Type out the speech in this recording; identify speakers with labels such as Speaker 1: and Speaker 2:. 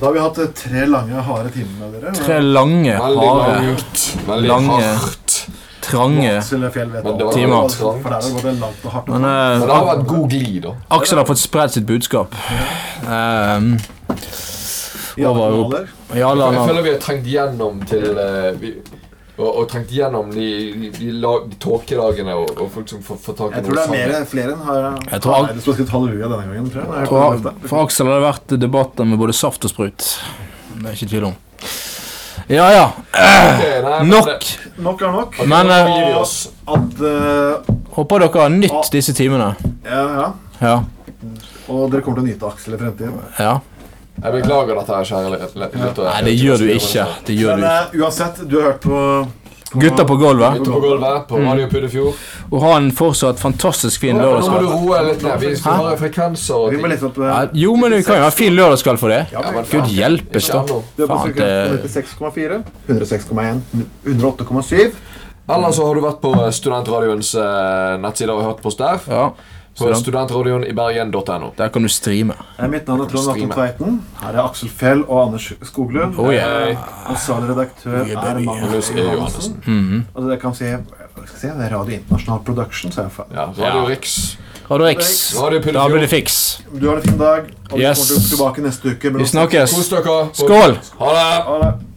Speaker 1: Da har vi hatt eh, tre lange, harde timer med dere.
Speaker 2: Tre lange,
Speaker 3: Veldig
Speaker 2: harde,
Speaker 3: langt. Veldig
Speaker 2: Lange.
Speaker 3: hardt.
Speaker 2: trange
Speaker 1: Vadsø Fjell vet
Speaker 3: Men det var
Speaker 1: alt. For
Speaker 2: timer.
Speaker 1: der har det gått langt og hardt.
Speaker 2: Men
Speaker 3: Men
Speaker 2: eh,
Speaker 3: det har vært god glid, da.
Speaker 2: Aksel har fått spredd sitt budskap. Um,
Speaker 1: I alle
Speaker 2: over-
Speaker 1: kanaler.
Speaker 2: I alle
Speaker 3: Jeg
Speaker 2: andre
Speaker 3: føler vi har trengt gjennom til eh, vi, og, og trengt gjennom de, de, de, la- de tåkedagene og, og folk som får, får tak i
Speaker 1: Jeg tror det er
Speaker 3: sammen.
Speaker 1: mer, flere enn har
Speaker 2: Jeg tror alt-
Speaker 1: Nei, det skulle skrevet halleluja denne gangen. Tror jeg. Nei, jeg
Speaker 2: for,
Speaker 1: kommer til å løfte.
Speaker 2: for Aksel har det vært debatter med både saft og sprut. Det er ikke tvil om. Ja ja,
Speaker 3: Ok, nei, men
Speaker 2: nok!
Speaker 3: det-
Speaker 1: Nok er nok.
Speaker 3: ok,
Speaker 2: Men,
Speaker 3: nå
Speaker 2: eh,
Speaker 3: gir vi oss.
Speaker 1: At eh,
Speaker 2: Håper dere har nytt disse timene.
Speaker 1: Ja, ja.
Speaker 2: Ja.
Speaker 1: Og dere kommer til å nyte Aksel i fremtiden.
Speaker 2: ja.
Speaker 3: Jeg beklager dette, her, kjære l- l- lyttere.
Speaker 2: Nei, det gjør du ikke. Det gjør
Speaker 1: Men
Speaker 2: du ikke.
Speaker 1: eh, uansett, du har hørt på, på
Speaker 2: Gutter på gulvet.
Speaker 3: Ute på gulvet
Speaker 2: Mm.
Speaker 3: på Radio Puddefjord.
Speaker 2: Og ha en fortsatt fantastisk fin
Speaker 3: Nå må du
Speaker 2: lørdagskveld.
Speaker 3: roe deg litt ned. Vi skal ha frekvenser og
Speaker 1: Vi må
Speaker 3: ting.
Speaker 1: lese opp eh,
Speaker 2: Ja, jo, men det kan jo være fin lørdagskveld for det.
Speaker 1: ja,
Speaker 3: Ja,
Speaker 1: men,
Speaker 3: men
Speaker 2: Gud hjelpes,
Speaker 3: Ikke
Speaker 2: da.
Speaker 3: ennå.
Speaker 1: Du er på
Speaker 2: Faen,
Speaker 1: sekund
Speaker 2: det
Speaker 1: 96,4, 106,1, 108,7.
Speaker 3: Eller så har du vært på Studentradioens eh, nettsider og hørt på oss der.
Speaker 2: Ja.
Speaker 3: På
Speaker 2: Student.
Speaker 3: studentradioen i bergen.no.
Speaker 2: Der kan du streame.
Speaker 1: Eh, Mitt navn er Trond Atten
Speaker 3: Streamer.
Speaker 1: Tveiten. Her er Aksel Fjell og Anders Skoglund. Eh,
Speaker 2: Oh, yeah.
Speaker 3: Hei.
Speaker 1: Ansvarlig redaktør
Speaker 2: Yeah,
Speaker 1: er
Speaker 2: baby.
Speaker 1: Magnus E.
Speaker 3: Yeah.
Speaker 1: Johannessen.
Speaker 2: Mhm.
Speaker 1: Og det kan si, hva skal jeg si det er Radio International Production. Så jeg fa-
Speaker 3: Ja,
Speaker 2: Ja.
Speaker 3: Radio Riks.
Speaker 2: Radio X.
Speaker 3: Radio
Speaker 2: Da blir det
Speaker 3: Puddefjord.
Speaker 2: fiks.
Speaker 1: Du har en fin dag, og vi
Speaker 2: Yes.
Speaker 1: kommer til- tilbake neste uke. med
Speaker 2: Vi
Speaker 1: noe-
Speaker 2: snakkes.
Speaker 3: Kos dere. og
Speaker 2: Skål!
Speaker 3: Ha det.
Speaker 1: Ha det.